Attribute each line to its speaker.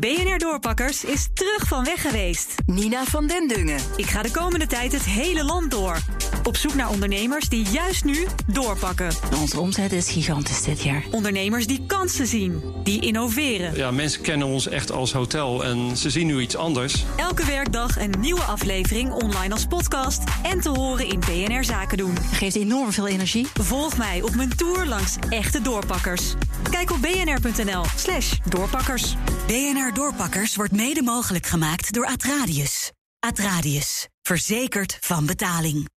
Speaker 1: BNR Doorpakkers is terug van weg geweest.
Speaker 2: Nina van den Dungen.
Speaker 1: Ik ga de komende tijd het hele land door. Op zoek naar ondernemers die juist nu doorpakken.
Speaker 2: Onze omzet is gigantisch dit jaar.
Speaker 1: Ondernemers die kansen zien, die innoveren.
Speaker 3: Ja, mensen kennen ons echt als hotel en ze zien nu iets anders.
Speaker 1: Elke werkdag een nieuwe aflevering online als podcast en te horen in BNR Zaken doen.
Speaker 2: Geeft enorm veel energie.
Speaker 1: Volg mij op mijn tour langs echte doorpakkers. Kijk op bnr.nl/slash doorpakkers.
Speaker 4: BNR Doorpakkers wordt mede mogelijk gemaakt door Atradius. Atradius, verzekerd van betaling.